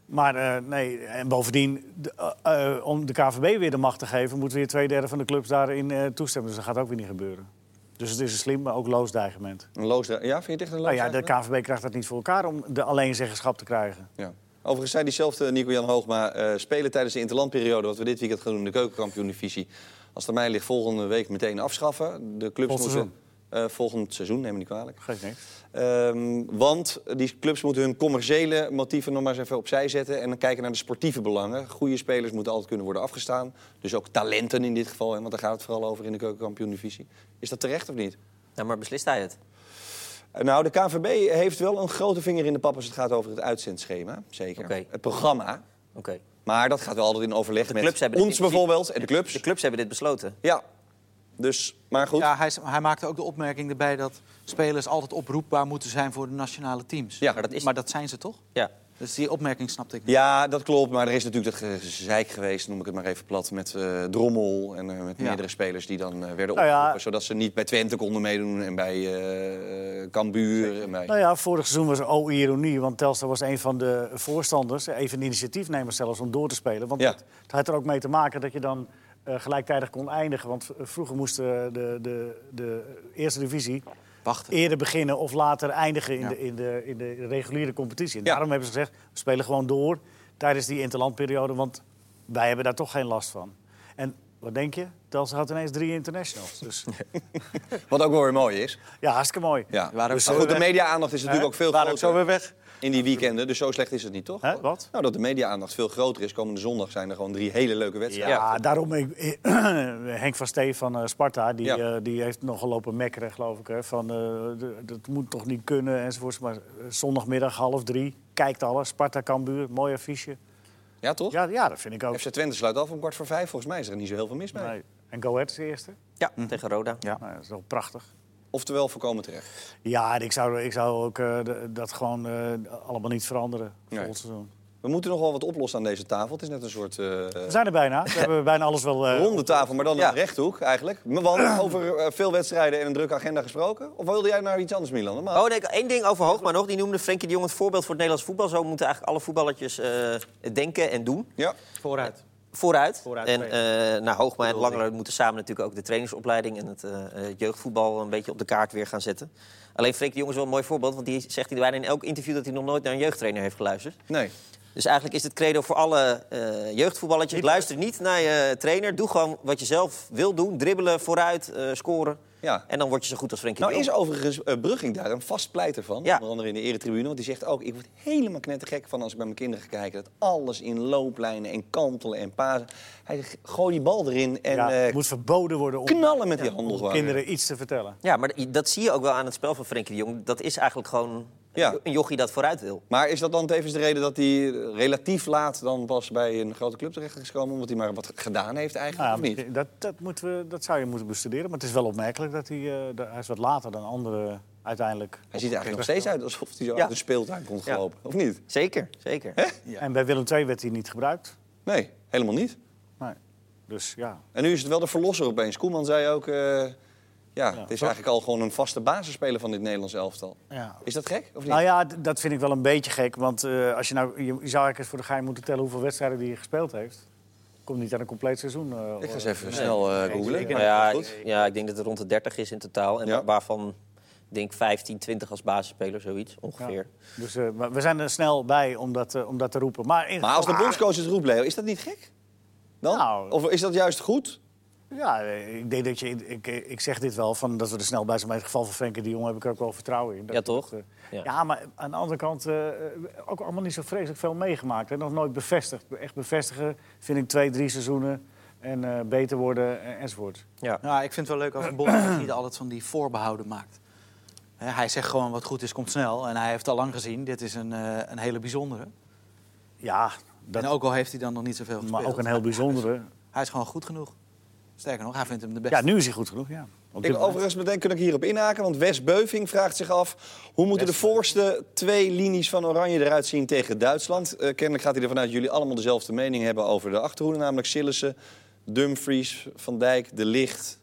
Speaker 2: maar eh, nee, en bovendien, de- eh, eh, om de KNVB weer de macht te geven... moeten weer twee derde van de clubs daarin eh, toestemmen. Dus dat gaat ook weer niet gebeuren. Dus het is een slim, maar ook loos dreigement.
Speaker 1: Een loos, ja, vind je het echt een loos
Speaker 2: Nou ja, de
Speaker 1: eigenlijk?
Speaker 2: KNVB krijgt dat niet voor elkaar om de alleenzeggenschap te krijgen.
Speaker 1: Ja. Overigens zei diezelfde Nico-Jan Hoogma... eh, spelen tijdens de interlandperiode, wat we dit weekend gaan doen... de keukenkampioen-divisie. Als het aan mij ligt, volgende week meteen afschaffen. De clubs
Speaker 2: Volgend
Speaker 1: moeten... eh, volgend seizoen, neem me niet kwalijk.
Speaker 2: Geeft niks.
Speaker 1: Ehm, want die clubs moeten hun commerciële motieven nog maar eens even opzij zetten... en dan kijken naar de sportieve belangen. Goede spelers moeten altijd kunnen worden afgestaan. Dus ook talenten in dit geval, hè, want daar gaat het vooral over in de keukenkampioen-divisie. Is dat terecht of niet?
Speaker 3: Nou, maar beslist hij het?
Speaker 1: Eh, Nou, de KNVB heeft wel een grote vinger in de pap als het gaat over het uitzendschema. Zeker.
Speaker 3: Oké.
Speaker 1: Het programma.
Speaker 3: Oké.
Speaker 1: Maar dat gaat wel altijd in overleg met
Speaker 3: clubs hebben dit
Speaker 1: ons
Speaker 3: in principe-
Speaker 1: bijvoorbeeld en de clubs.
Speaker 3: De clubs hebben dit besloten.
Speaker 1: Ja, dus, maar goed. Ja.
Speaker 4: Ja, hij, is- hij maakte ook de opmerking erbij dat spelers altijd oproepbaar moeten zijn voor de nationale teams.
Speaker 1: Ja,
Speaker 4: maar, dat is... maar dat zijn ze toch?
Speaker 3: Ja.
Speaker 4: Dus die opmerking snapte ik niet.
Speaker 1: dat klopt. Maar er is natuurlijk dat gezeik geweest, noem ik het maar even plat, met eh, Drommel en eh, met
Speaker 4: Ja.
Speaker 1: meerdere spelers die dan eh, werden
Speaker 2: Nou ja.
Speaker 1: opgeroepen. Zodat ze niet bij Twente konden meedoen en bij eh, eh, Cambuur. En bij...
Speaker 2: Nou ja, vorig seizoen was oh ironie, want Telstar was een van de voorstanders, een van de initiatiefnemers zelfs om door te spelen. Want
Speaker 1: Ja.
Speaker 2: het, het had er ook mee te maken dat je dan eh, gelijktijdig kon eindigen. Want v- vroeger moest de, de, de, de eerste divisie
Speaker 4: Wachten.
Speaker 2: eerder beginnen of later eindigen in,
Speaker 4: Ja.
Speaker 2: de, in, de, in de reguliere competitie. En
Speaker 1: Ja.
Speaker 2: daarom hebben ze gezegd, we spelen gewoon door tijdens die interlandperiode, want wij hebben daar toch geen last van. En Wat denk je? Telstra had ineens drie internationals. Dus
Speaker 1: [LAUGHS] Wat ook wel weer mooi is.
Speaker 2: ja, hartstikke mooi.
Speaker 1: Ja.
Speaker 4: Waarom
Speaker 1: Dus,
Speaker 4: zo
Speaker 1: maar goed, de
Speaker 2: weg?
Speaker 1: media-aandacht is natuurlijk
Speaker 2: Hè?
Speaker 1: ook veel
Speaker 4: Waarom
Speaker 1: groter
Speaker 4: zo weer weg?
Speaker 1: in die weekenden. Dus zo slecht is het niet, toch?
Speaker 2: Hè, wat?
Speaker 1: Nou, dat de media-aandacht veel groter is. Komende zondag zijn er gewoon drie hele leuke
Speaker 2: Ja,
Speaker 1: wedstrijden.
Speaker 2: daarom. Ik, [CLEARS THROAT] Henk van Stee van eh, Sparta, die,
Speaker 1: Ja.
Speaker 2: eh, die heeft nogal lopen mekkeren, geloof ik. Hè, van eh, d- dat moet toch niet kunnen enzovoorts. Maar eh, zondagmiddag half drie, kijkt alles. Sparta Cambuur, mooi affiche.
Speaker 1: Ja, toch?
Speaker 2: Ja, ja, dat vind ik ook.
Speaker 1: FC Twente sluit af om kwart voor vijf. Volgens mij is er niet zo heel veel mis mee.
Speaker 2: Nee. En Go Ahead is de eerste.
Speaker 3: Ja, tegen Roda.
Speaker 4: Ja.
Speaker 2: Nou, dat is wel prachtig.
Speaker 1: Oftewel, voorkomen terecht.
Speaker 2: Ja, en ik zou, ik zou ook eh, d- dat gewoon eh, allemaal niet veranderen
Speaker 1: Nee.
Speaker 2: volgend seizoen.
Speaker 1: We moeten nog wel wat oplossen aan deze tafel. Het is net een soort eh,
Speaker 2: We zijn er
Speaker 1: [LAUGHS]
Speaker 2: bijna. We hebben bijna alles wel... eh,
Speaker 1: ronde tafel, maar dan
Speaker 3: Ja.
Speaker 1: een rechthoek eigenlijk. Maar
Speaker 2: [CLEARS THROAT]
Speaker 1: Want over eh, veel wedstrijden en een drukke agenda gesproken. Of wilde jij naar iets anders, Milan? Normaal.
Speaker 3: Oh nee, één ding over Hoogma nog. Die noemde Frenkie de Jong het voorbeeld voor het Nederlands voetbal. Zo moeten eigenlijk alle voetballertjes eh, denken en doen.
Speaker 1: Ja.
Speaker 5: Vooruit.
Speaker 3: Vooruit.
Speaker 5: Vooruit,
Speaker 3: en eh nou, Hoogma en Langelo moeten samen natuurlijk ook de trainingsopleiding... en het eh, eh, jeugdvoetbal een beetje op de kaart weer gaan zetten. Alleen Frenkie de Jong is wel een mooi voorbeeld... want die zegt hij bijna in elk interview dat hij nog nooit naar een jeugdtrainer heeft geluisterd.
Speaker 1: Nee.
Speaker 3: Dus eigenlijk is het credo voor alle eh, jeugdvoetballetjes... luister niet naar je trainer, doe gewoon wat je zelf wil doen. Dribbelen, vooruit, eh, scoren.
Speaker 1: Ja.
Speaker 3: En dan word je zo goed als Frenkie
Speaker 1: Nou
Speaker 3: de
Speaker 1: is
Speaker 3: Jong.
Speaker 1: overigens eh, Brugging daar een vast pleiter van.
Speaker 3: Ja.
Speaker 1: Onder andere in de eretribune. Want die zegt ook, ik word helemaal knettergek van als ik bij mijn kinderen ga kijken. Dat alles in looplijnen en kantelen en pasen. Hij zegt, gooi die bal erin en
Speaker 2: ja,
Speaker 1: eh,
Speaker 2: het moet verboden worden om
Speaker 1: knallen met die handel. gewoon.
Speaker 2: kinderen iets te vertellen.
Speaker 3: Ja, maar dat- dat zie je ook wel aan het spel van Frenkie de Jong. Dat is eigenlijk gewoon
Speaker 1: Ja.
Speaker 3: een jochie dat vooruit wil.
Speaker 1: Maar is dat dan tevens de reden dat hij relatief laat dan pas bij een grote club terecht is gekomen? Omdat hij maar wat gedaan heeft eigenlijk,
Speaker 2: Nou,
Speaker 1: of niet?
Speaker 2: Dat, dat, moeten we, dat zou je moeten bestuderen. Maar het is wel opmerkelijk dat hij... eh, da- hij is wat later dan anderen uiteindelijk.
Speaker 1: Hij ziet er eigenlijk nog steeds uit alsof hij zo
Speaker 3: Ja.
Speaker 1: uit een speeltuin komt gelopen. Of niet?
Speaker 3: Zeker, zeker.
Speaker 4: Ja.
Speaker 2: En bij Willem II werd hij niet gebruikt.
Speaker 1: Nee, helemaal niet.
Speaker 2: Nee. Dus ja.
Speaker 1: En nu is het wel de verlosser opeens. Koeman zei ook, eh, ja, het is
Speaker 2: toch?
Speaker 1: eigenlijk al gewoon een vaste basisspeler van dit Nederlands elftal.
Speaker 2: ja.
Speaker 1: Is dat gek? Of niet?
Speaker 2: Nou ja, d- dat vind ik wel een beetje gek. Want eh, als je nou, je, je zou eigenlijk eens voor de gein moeten tellen hoeveel wedstrijden die hij gespeeld heeft. Komt niet aan een compleet seizoen. eh,
Speaker 1: Ik ga eens
Speaker 2: hoor.
Speaker 1: even snel eh googlen.
Speaker 5: zeker.
Speaker 3: Nou ja, ik, ja, ik denk dat het rond de 30 is in totaal. En
Speaker 1: Ja.
Speaker 3: waarvan, ik denk 15, 20 als basisspeler, zoiets ongeveer.
Speaker 2: Dus eh, maar we zijn er snel bij om dat, eh, om dat te roepen. Maar, in-
Speaker 1: Maar als de bondscoach het roept, Leo, is dat niet gek? Dan?
Speaker 2: Nou.
Speaker 1: Of is dat juist goed?
Speaker 2: Ja, eh, ik, denk dat je, ik, ik zeg dit wel, van dat we er snel bij zijn. Maar in het geval van Frenkie de Jong heb ik er ook wel vertrouwen in. Dat-
Speaker 3: Ja, toch?
Speaker 2: dat, eh,
Speaker 3: Ja.
Speaker 2: ja. maar aan de andere kant eh, ook allemaal niet zo vreselijk veel meegemaakt. En nog nooit bevestigd. Echt bevestigen vind ik twee, drie seizoenen. En eh, beter worden en- enzovoort.
Speaker 3: Ja.
Speaker 4: Nou, ik vind het wel leuk als een bondscoach niet altijd van die voorbehouden maakt. Hè, hij zegt gewoon wat goed is, komt snel. En hij heeft al lang gezien, dit is een, eh, een hele bijzondere.
Speaker 2: Ja, dat,
Speaker 4: En ook al heeft hij dan nog niet zoveel gespeeld.
Speaker 2: maar ook een heel bijzondere.
Speaker 4: Hij is gewoon goed genoeg. Sterker nog, hij vindt hem de beste.
Speaker 2: Ja, nu is hij goed genoeg, ja. Op
Speaker 1: Ik,
Speaker 2: dit moment.
Speaker 1: overigens meteen kun ik hierop inhaken, want Wes Beuving vraagt zich af... hoe moeten de voorste twee linies van Oranje eruit zien tegen Duitsland? Eh, kennelijk gaat hij ervan uit dat jullie allemaal dezelfde mening hebben over de achterhoede... namelijk Sillissen, Dumfries, Van Dijk, De Licht,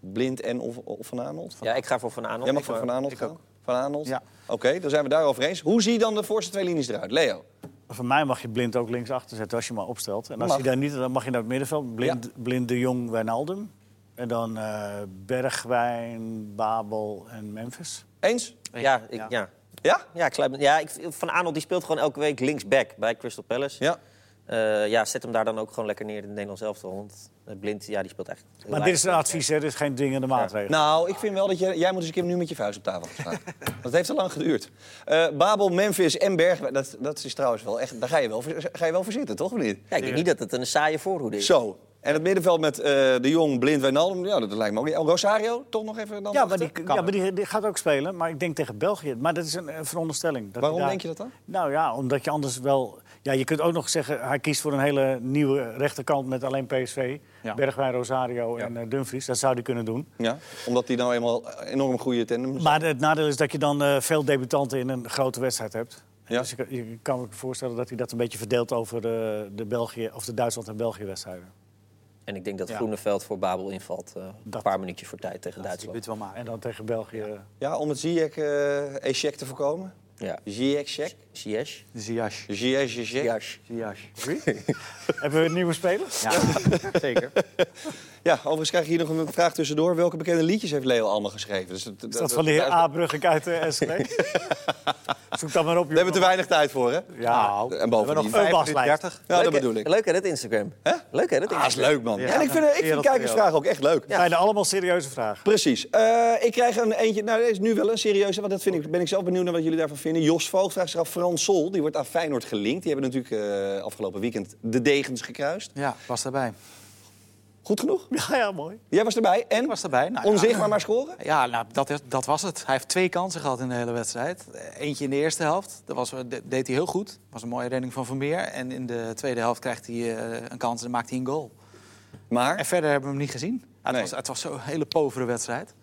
Speaker 1: Blind en of, of Van Aanholt.
Speaker 3: ja, ik ga voor Van Aanholt.
Speaker 1: Jij mag
Speaker 3: Ik,
Speaker 1: voor
Speaker 3: eh,
Speaker 1: Van Aanholt gaan? Van Aanholt?
Speaker 4: Ja.
Speaker 1: Oké, dan zijn we daarover eens. Hoe zie je dan de voorste twee linies eruit? Leo?
Speaker 2: Van mij mag je blind ook links achter zetten als je maar opstelt. En als
Speaker 1: Mag.
Speaker 2: hij daar niet, dan mag je naar het middenveld. Blind, blind de Jong, Wijnaldum. En dan eh, Bergwijn, Babel en Memphis.
Speaker 1: Eens?
Speaker 3: Ja, ik, ja.
Speaker 1: Ja?
Speaker 3: Ja, Kluivert- ja ik, Van Aanholt die speelt gewoon elke week linksback bij Crystal Palace.
Speaker 1: Ja.
Speaker 3: Eh, ja, zet hem daar dan ook gewoon lekker neer in het Nederlands elftal. Want eh, Blind, ja, die speelt echt... heel
Speaker 2: Maar dit
Speaker 3: weinig.
Speaker 2: is een advies, hè? dit is geen dwingende maatregel.
Speaker 1: Nou, ik vind wel dat jij, jij moet eens een keer nu met je vuist op tafel gaan
Speaker 2: [LAUGHS]
Speaker 1: staan. Want het heeft te lang geduurd. Eh, Babel, Memphis en Bergwijn, dat, dat is trouwens wel echt... Daar ga je wel voor, ga je wel voor zitten, toch of niet?
Speaker 3: Ja, ik denk niet dat het een saaie voorhoede is.
Speaker 1: Zo. En het middenveld met eh, De Jong, Blind, Wijnaldum. Ja, dat lijkt me ook niet. Oh, Rosario, toch nog even dan?
Speaker 2: ja, maar,
Speaker 1: achter?
Speaker 2: die, ja, maar die, die gaat ook spelen. Maar ik denk tegen België. Maar dat is een, eh, veronderstelling. Dat
Speaker 1: Waarom
Speaker 2: hij daar-
Speaker 1: denk je dat dan?
Speaker 2: Nou ja, omdat je anders wel... Ja, je kunt ook nog zeggen, hij kiest voor een hele nieuwe rechterkant met alleen PSV.
Speaker 4: Ja.
Speaker 2: Bergwijn, Rosario en eh, Dumfries. Dat zou hij kunnen doen.
Speaker 1: Ja, omdat die nou eenmaal eh, enorm goede tandem
Speaker 2: Maar het nadeel is dat je dan eh, veel debutanten in een grote wedstrijd hebt.
Speaker 1: Ja.
Speaker 2: Dus je, kan- je kan me voorstellen dat hij dat een beetje verdeelt over de, de, België, of de Duitsland- en België-wedstrijden.
Speaker 3: En ik denk dat
Speaker 2: Ja.
Speaker 3: Groeneveld voor Babel invalt. eh, een
Speaker 2: Dat-
Speaker 3: paar minuutjes voor tijd tegen
Speaker 4: Die
Speaker 3: Duitsland.
Speaker 4: moet wel maken.
Speaker 2: En dan tegen België.
Speaker 1: Ja, om het Ziyech eh echec te voorkomen.
Speaker 3: Ja.
Speaker 1: Ziyech, check.
Speaker 3: Ziyech.
Speaker 4: Ziyech.
Speaker 1: Ziyech, Ziyech.
Speaker 3: Ziyech.
Speaker 4: Ziyech.
Speaker 2: [LAUGHS] Hebben we een nieuwe speler?
Speaker 4: Ja, [LAUGHS] zeker.
Speaker 1: Ja, overigens krijg je hier nog een vraag tussendoor. Welke bekende liedjes heeft Leo allemaal geschreven? Dus,
Speaker 2: eh,
Speaker 1: [LAUGHS]
Speaker 2: Is dat van de heer A. Brugge uit de SG? Zoek dat maar op,
Speaker 1: We hebben te
Speaker 2: jongen.
Speaker 1: weinig tijd voor, hè?
Speaker 2: Ja,
Speaker 1: En
Speaker 4: We hebben
Speaker 1: bovendien...
Speaker 4: nog
Speaker 2: een
Speaker 4: 5 minuten
Speaker 2: waslijst.
Speaker 4: 30.
Speaker 1: Ja,
Speaker 3: Leuk,
Speaker 1: dat
Speaker 3: hè?
Speaker 1: bedoel ik.
Speaker 3: Leuk hè, dat Instagram.
Speaker 1: Hè?
Speaker 3: Leuk hè, dat
Speaker 1: Ah, is
Speaker 3: Instagram.
Speaker 1: leuk, man.
Speaker 4: Ja.
Speaker 1: Ja, en ik vind, ik vind
Speaker 4: Wereld-
Speaker 1: kijkersvragen ook echt leuk.
Speaker 2: bijna allemaal serieuze vragen.
Speaker 1: [LAUGHS] Precies. Eh, ik krijg een eentje. Nou, deze is nu wel een serieuze, want dat vind ik, ben ik zelf benieuwd naar wat jullie daarvan vinden. Jos Voogd vraagt zich af: Frans Sol, die wordt aan Feyenoord gelinkt. Die hebben natuurlijk eh, afgelopen weekend de degens gekruist.
Speaker 4: Ja, was daarbij.
Speaker 1: Goed genoeg?
Speaker 2: Ja, ja, mooi.
Speaker 1: Jij was erbij en
Speaker 4: Ik was daarbij. Nou, ja.
Speaker 1: onzichtbaar maar scoren.
Speaker 4: Ja, nou, dat, is- dat was het. Hij heeft twee kansen gehad in de hele wedstrijd. Eentje in de eerste helft. Dat was, de- deed hij heel goed. was een mooie redding van Vermeer. En in de tweede helft krijgt hij eh, een kans en maakt hij een goal. En
Speaker 1: Maar
Speaker 4: verder hebben we hem niet gezien. Ah, het,
Speaker 1: Nee.
Speaker 4: was, het was zo'n hele povere wedstrijd.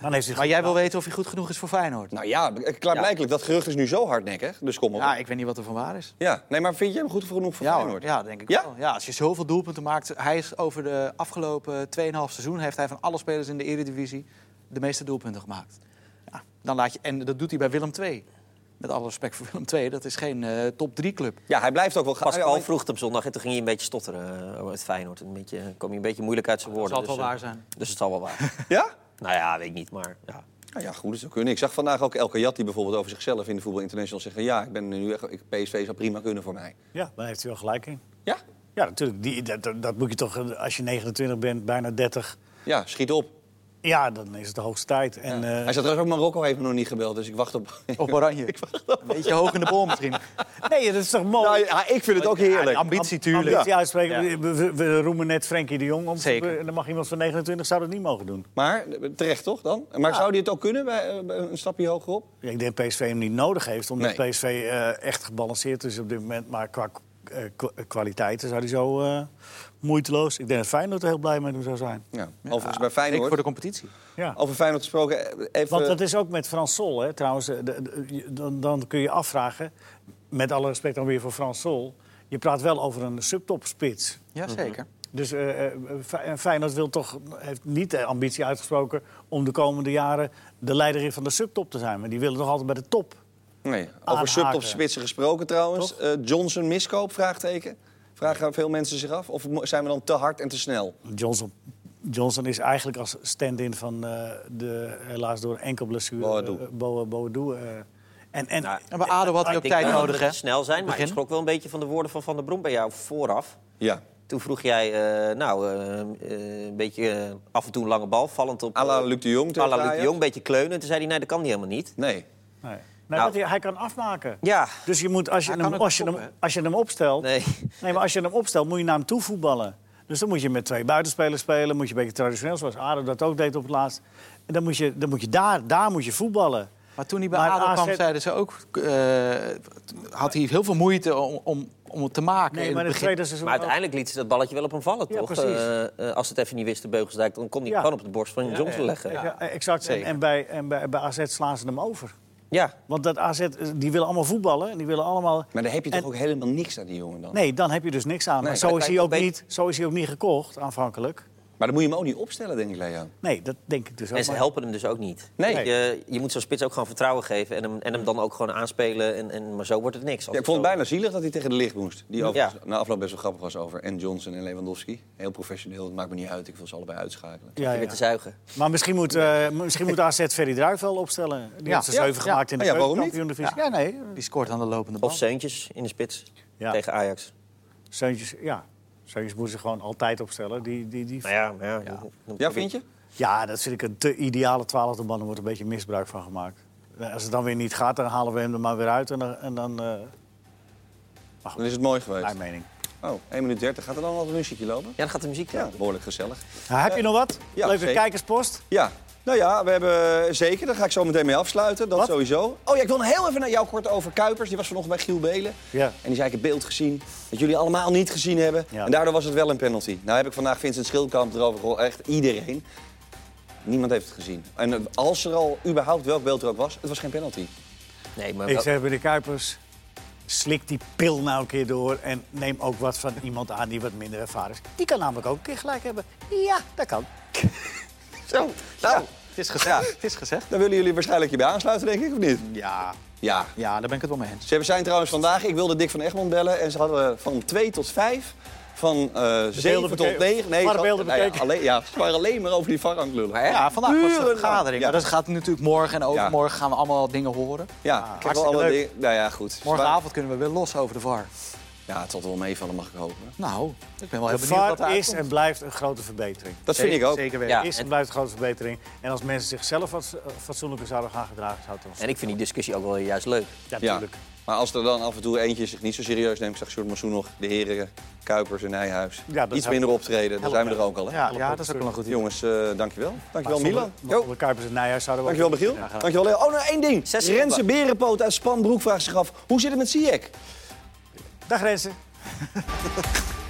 Speaker 2: Dan heeft hij
Speaker 4: Maar jij wil weten of hij goed genoeg is voor Feyenoord?
Speaker 1: nou ja, klaarblijkelijk, dat gerucht is nu zo hardnekkig. Dus kom op.
Speaker 4: Ja,
Speaker 1: Ja,
Speaker 4: ik weet niet wat er van waar is.
Speaker 1: nee, maar vind jij hem goed genoeg voor
Speaker 4: ja, hoor.
Speaker 1: Feyenoord?
Speaker 4: ja, denk ik
Speaker 1: Ja?
Speaker 4: wel. Ja, als je zoveel doelpunten maakt... Hij is over de afgelopen 2,5 seizoen... heeft hij van alle spelers in de Eredivisie de meeste doelpunten gemaakt. Ja, dan laat je, en dat doet hij bij Willem II. Met alle respect voor Willem II. Dat is geen eh, top 3 club.
Speaker 1: Ja, hij blijft ook wel gaan.
Speaker 3: Pascal vroeg het hem zondag en toen ging hij een beetje stotteren eh, over het Feyenoord. Een beetje, kwam hij een beetje moeilijk uit zijn woorden.
Speaker 4: zal het wel
Speaker 3: eh,
Speaker 4: waar zijn.
Speaker 3: Dus het zal wel
Speaker 2: [LAUGHS]
Speaker 3: waar.
Speaker 1: Ja?
Speaker 3: nou ja, weet ik niet, maar ja.
Speaker 1: Nou ja, goed, dat zou kunnen. Ik zag vandaag ook El Kayati bijvoorbeeld over zichzelf in de Voetbal International zeggen... ja, ik ben nu echt... ik- PSV zou prima kunnen voor mij.
Speaker 2: Ja, daar heeft hij wel gelijk in.
Speaker 1: Ja?
Speaker 2: Ja, natuurlijk. Die, dat, dat- dat moet je toch, eh, als je 29 bent, bijna 30.
Speaker 1: Ja, schiet op.
Speaker 2: Ja, dan is het de hoogste tijd. En,
Speaker 1: Ja.
Speaker 2: eh,
Speaker 1: Hij zat trouwens ook Marokko heeft me nog niet gebeld, dus ik wacht
Speaker 2: [LAUGHS]
Speaker 1: op. [LAUGHS]
Speaker 4: Op Oranje. Een beetje hoog in de bol misschien.
Speaker 2: nee, dat is toch mooi?
Speaker 1: Nou, ja, [LAUGHS] ik vind het ook
Speaker 4: Ja, die
Speaker 1: heerlijk.
Speaker 4: ambitie tuurlijk.
Speaker 2: Ambitie uitspreken.
Speaker 4: Ja.
Speaker 2: We, we- we roemen net Frenkie de Jong om.
Speaker 4: Zeker.
Speaker 2: En dan mag iemand van 29 zou dat niet mogen doen.
Speaker 1: Maar eh, terecht toch dan? Maar zou die het ook kunnen bij eh, bij een stapje hogerop?
Speaker 2: Ja, Ik denk dat PSV hem niet nodig heeft, omdat
Speaker 1: Nee.
Speaker 2: PSV eh, echt gebalanceerd is op dit moment. Maar qua eh, kwa- kwaliteiten zou hij zo eh, moeiteloos. Ik denk dat Feyenoord er heel blij met hem zou zijn.
Speaker 1: Ja. Overigens bij
Speaker 4: Ik voor
Speaker 1: Feyenoord.
Speaker 4: de competitie.
Speaker 2: Ja.
Speaker 1: Over Feyenoord gesproken, eh, even...
Speaker 2: Want dat is ook met Frans Sol, hè, trouwens. eh, de- de- je- dan, dan kun je afvragen, met alle respect dan weer voor Frans Sol... je praat wel over een subtopspits.
Speaker 1: Mhm.
Speaker 4: Jazeker.
Speaker 2: Dus eh, eh, Fe- en Feyenoord wil toch, heeft niet de ambitie uitgesproken... om de komende jaren de leider van de subtop te zijn. Maar die willen toch altijd bij de top.
Speaker 1: Nee, over
Speaker 2: Aanhaken.
Speaker 1: subtopspitsen gesproken trouwens. Eh, Johnson miskoop, vraagteken. Vragen veel mensen zich af. Of mo- zijn we dan te hard en te snel?
Speaker 2: Johnson, Johnson is eigenlijk als stand-in van eh, de helaas door een enkel blessure...
Speaker 1: Boadu.
Speaker 2: eh, Bo- Boadu, eh. en, en,
Speaker 3: Nou,
Speaker 4: En bij ADO had hij
Speaker 3: Ik
Speaker 4: ook
Speaker 3: denk
Speaker 4: tijd
Speaker 3: wel dat
Speaker 4: nodig,
Speaker 3: we
Speaker 4: hè?
Speaker 3: snel zijn, maar ik
Speaker 4: Begin.
Speaker 3: schrok wel een beetje van de woorden van Van der Brom bij jou vooraf.
Speaker 1: Ja.
Speaker 3: Toen vroeg jij, eh, nou, eh, eh, een beetje eh, af en toe een lange bal, vallend op...
Speaker 1: À la
Speaker 3: eh,
Speaker 1: Luc de Jong tegen
Speaker 3: à la Luc de
Speaker 1: Ajax?
Speaker 3: Jong, een beetje kleunen. En toen zei hij, nee, dat kan hij helemaal niet.
Speaker 1: Nee.
Speaker 2: nee. Nee,
Speaker 1: Nou.
Speaker 2: want hij, hij kan afmaken.
Speaker 3: Ja,
Speaker 2: Dus je moet, als je,
Speaker 4: Hij
Speaker 2: hem,
Speaker 4: kan ook
Speaker 2: als, je hem,
Speaker 4: stoppen, hè?
Speaker 2: als je hem opstelt...
Speaker 3: nee.
Speaker 1: [LAUGHS]
Speaker 2: Nee, maar als je hem opstelt, moet je naar hem toe voetballen. Dus dan moet je met twee buitenspelers spelen. Moet je een beetje traditioneel, zoals Ado dat ook deed op het laatst. En dan moet je, dan moet je daar, daar moet je voetballen.
Speaker 4: Maar toen hij bij
Speaker 2: Maar
Speaker 4: ADO kwam,
Speaker 2: AZ
Speaker 4: zeiden ze ook... eh, had hij heel veel moeite om, om, om het te maken
Speaker 2: Nee,
Speaker 4: in
Speaker 2: maar
Speaker 4: het
Speaker 2: in het
Speaker 4: begin.
Speaker 2: tweede seizoen...
Speaker 3: Maar uiteindelijk liet ze dat balletje wel op hem vallen,
Speaker 2: Ja,
Speaker 3: toch?
Speaker 2: precies.
Speaker 3: Eh, eh, als ze het even niet wist, de Beugelsdijk, dan kon hij
Speaker 2: Ja.
Speaker 3: gewoon op de borst van Johnson leggen.
Speaker 2: ook-
Speaker 3: Ja.
Speaker 2: Ja, exact. En,
Speaker 4: Zeker.
Speaker 2: en, bij, en bij, bij AZ slaan ze hem over. Want dat AZ, eh, die willen allemaal voetballen. en Die willen allemaal...
Speaker 1: Maar daar heb je toch
Speaker 2: En-
Speaker 1: ook helemaal niks aan die jongen dan?
Speaker 2: Nee, dan heb je dus niks aan.
Speaker 1: Nee,
Speaker 2: maar zo
Speaker 1: maar
Speaker 2: is,
Speaker 1: kijk,
Speaker 2: hij ook
Speaker 1: weet-
Speaker 2: niet, zo is hij ook niet gekocht, aanvankelijk.
Speaker 1: Maar dan moet je hem ook niet opstellen, denk ik, Leo.
Speaker 2: Nee, dat denk ik dus ook.
Speaker 3: En ze
Speaker 2: maar-
Speaker 3: helpen hem dus ook niet.
Speaker 1: Nee.
Speaker 3: Je, je moet zo'n spits ook gewoon vertrouwen geven en hem, en hem dan ook gewoon aanspelen. En, en, maar zo wordt het niks. Als
Speaker 1: Ja, ik vond het
Speaker 3: zo-
Speaker 1: bijna zielig dat hij tegen de licht moest. Die overigens
Speaker 3: Ja.
Speaker 1: na afloop best wel grappig was over. En Johnson en Lewandowski. Heel professioneel, het maakt me niet uit. Ik wil ze allebei uitschakelen.
Speaker 2: Ja,
Speaker 3: Je
Speaker 2: ja.
Speaker 3: bent te zuigen.
Speaker 2: Maar misschien moet, eh, misschien moet AZ Ferry Druijf wel opstellen. Die
Speaker 4: Ja.
Speaker 2: heeft ze zeven
Speaker 1: Ja.
Speaker 2: gemaakt in de
Speaker 1: Ah ja, waarom niet?
Speaker 2: keukenkampioen-divisie. Ja, nee.
Speaker 4: Die scoort aan de lopende bal.
Speaker 3: Of Seuntjes in de spits
Speaker 2: Ja.
Speaker 3: tegen Ajax.
Speaker 2: Seuntjes, ja. Seuntjes moeten ze gewoon altijd opstellen. Die, die, die...
Speaker 3: Nou ja, maar ja, dan- dan-
Speaker 1: Ja, vind je?
Speaker 2: Ja, dat vind ik een te ideale twaalfde man. Er wordt een beetje misbruik van gemaakt. Eh, Als het dan weer niet gaat, dan halen we hem er maar weer uit. En dan, en dan eh,
Speaker 1: Dan is het mooi geweest.
Speaker 2: mijn mening.
Speaker 1: Oh, 1 minuut 30. Gaat er dan al een muziekje lopen?
Speaker 3: Ja, dan gaat de muziek
Speaker 1: Ja,
Speaker 3: lopen.
Speaker 1: behoorlijk gezellig.
Speaker 2: Nou, heb je nog wat?
Speaker 1: Eh, ja,
Speaker 2: Leuke
Speaker 1: zeker.
Speaker 2: kijkerspost.
Speaker 1: Ja, nou ja, we hebben zeker. Daar ga ik zo meteen mee afsluiten. Dat
Speaker 2: Wat?
Speaker 1: sowieso. Oh ja, ik wil nog heel even naar jou kort over Kuipers. Die was vanochtend bij Giel Belen.
Speaker 2: Ja.
Speaker 1: En die zei ik heb beeld gezien dat jullie allemaal niet gezien hebben.
Speaker 2: Ja.
Speaker 1: En daardoor was het wel een penalty. Nou heb ik vandaag Vincent Schildkamp erover gehoord. Echt iedereen. Niemand heeft het gezien. En eh, als er al überhaupt welk beeld er ook was, het was geen penalty.
Speaker 3: Nee, maar
Speaker 2: Ik zeg bij de Kuipers, slik die pil nou een keer door... en neem ook wat van iemand aan die wat minder ervaren is. Die kan namelijk ook een keer gelijk hebben. Ja, dat kan.
Speaker 1: Zo, nou,
Speaker 4: Het is gezegd. [LAUGHS] Het is gezegd.
Speaker 1: daar willen jullie waarschijnlijk je bij aansluiten, denk ik, of niet?
Speaker 4: Ja,
Speaker 1: Ja.
Speaker 4: ja, daar ben ik het wel mee eens.
Speaker 1: Ze hebben- zijn trouwens vandaag, ik wilde Dick van Egmond bellen en ze hadden van 2 tot 5 van eh 7 tot
Speaker 2: beke-
Speaker 1: 9. Nee,
Speaker 2: VAR
Speaker 1: van-
Speaker 2: beelden
Speaker 1: nou ja,
Speaker 2: bekeken.
Speaker 1: alleen, ja, ze waren alleen maar over die varang lullen.
Speaker 4: Maar ja, vandaag was de
Speaker 1: Urenlang.
Speaker 4: vergadering.
Speaker 1: Ja.
Speaker 4: Maar dat gaat natuurlijk morgen en overmorgen gaan we allemaal dingen horen.
Speaker 1: Ja, ik heb wel
Speaker 4: hartstikke
Speaker 1: alle
Speaker 4: leuk.
Speaker 1: dingen. Nou ja, goed. Ze waren-
Speaker 4: Morgenavond kunnen we weer los over de VAR.
Speaker 1: Ja, het zal toch wel meevallen, mag ik hopen.
Speaker 4: Nou, ik ben wel
Speaker 2: De
Speaker 4: heel benieuwd wat
Speaker 2: VAR
Speaker 4: daar
Speaker 2: is
Speaker 4: komt.
Speaker 2: en blijft een grote verbetering.
Speaker 1: Dat vind ik ook.
Speaker 4: Zeker
Speaker 2: Er
Speaker 4: weten.
Speaker 3: Ja,
Speaker 2: is en
Speaker 3: en-
Speaker 2: blijft een grote verbetering. En als mensen zichzelf wat eh, fatsoenlijker zouden gaan gedragen, zou het ons...
Speaker 3: En ik vind die discussie ook wel juist leuk.
Speaker 2: Ja,
Speaker 1: Ja.
Speaker 2: natuurlijk.
Speaker 1: Maar als er dan af en toe eentje zich niet zo serieus neemt, zag Sjoerd Massoen nog de heren Kuipers en Nijhuis.
Speaker 2: Ja, dat
Speaker 1: Iets
Speaker 2: helpt.
Speaker 1: minder optreden, daar zijn we er ook al. Hè?
Speaker 4: Ja, ja, dat is ook wel een goed idee.
Speaker 1: Jongens, eh dankjewel. Dankjewel Milan.
Speaker 2: Maar
Speaker 1: Jo.
Speaker 2: zonder Kuipers en Nijhuis zouden we...
Speaker 1: Dankjewel Michiel. Dankjewel Leo. Oh, nou één ding.
Speaker 3: Zes
Speaker 1: Rense
Speaker 3: seconden.
Speaker 1: Berenpoot uit Spanbroek vraagt zich af, hoe zit het met Ziyech?
Speaker 2: Dag Rensen.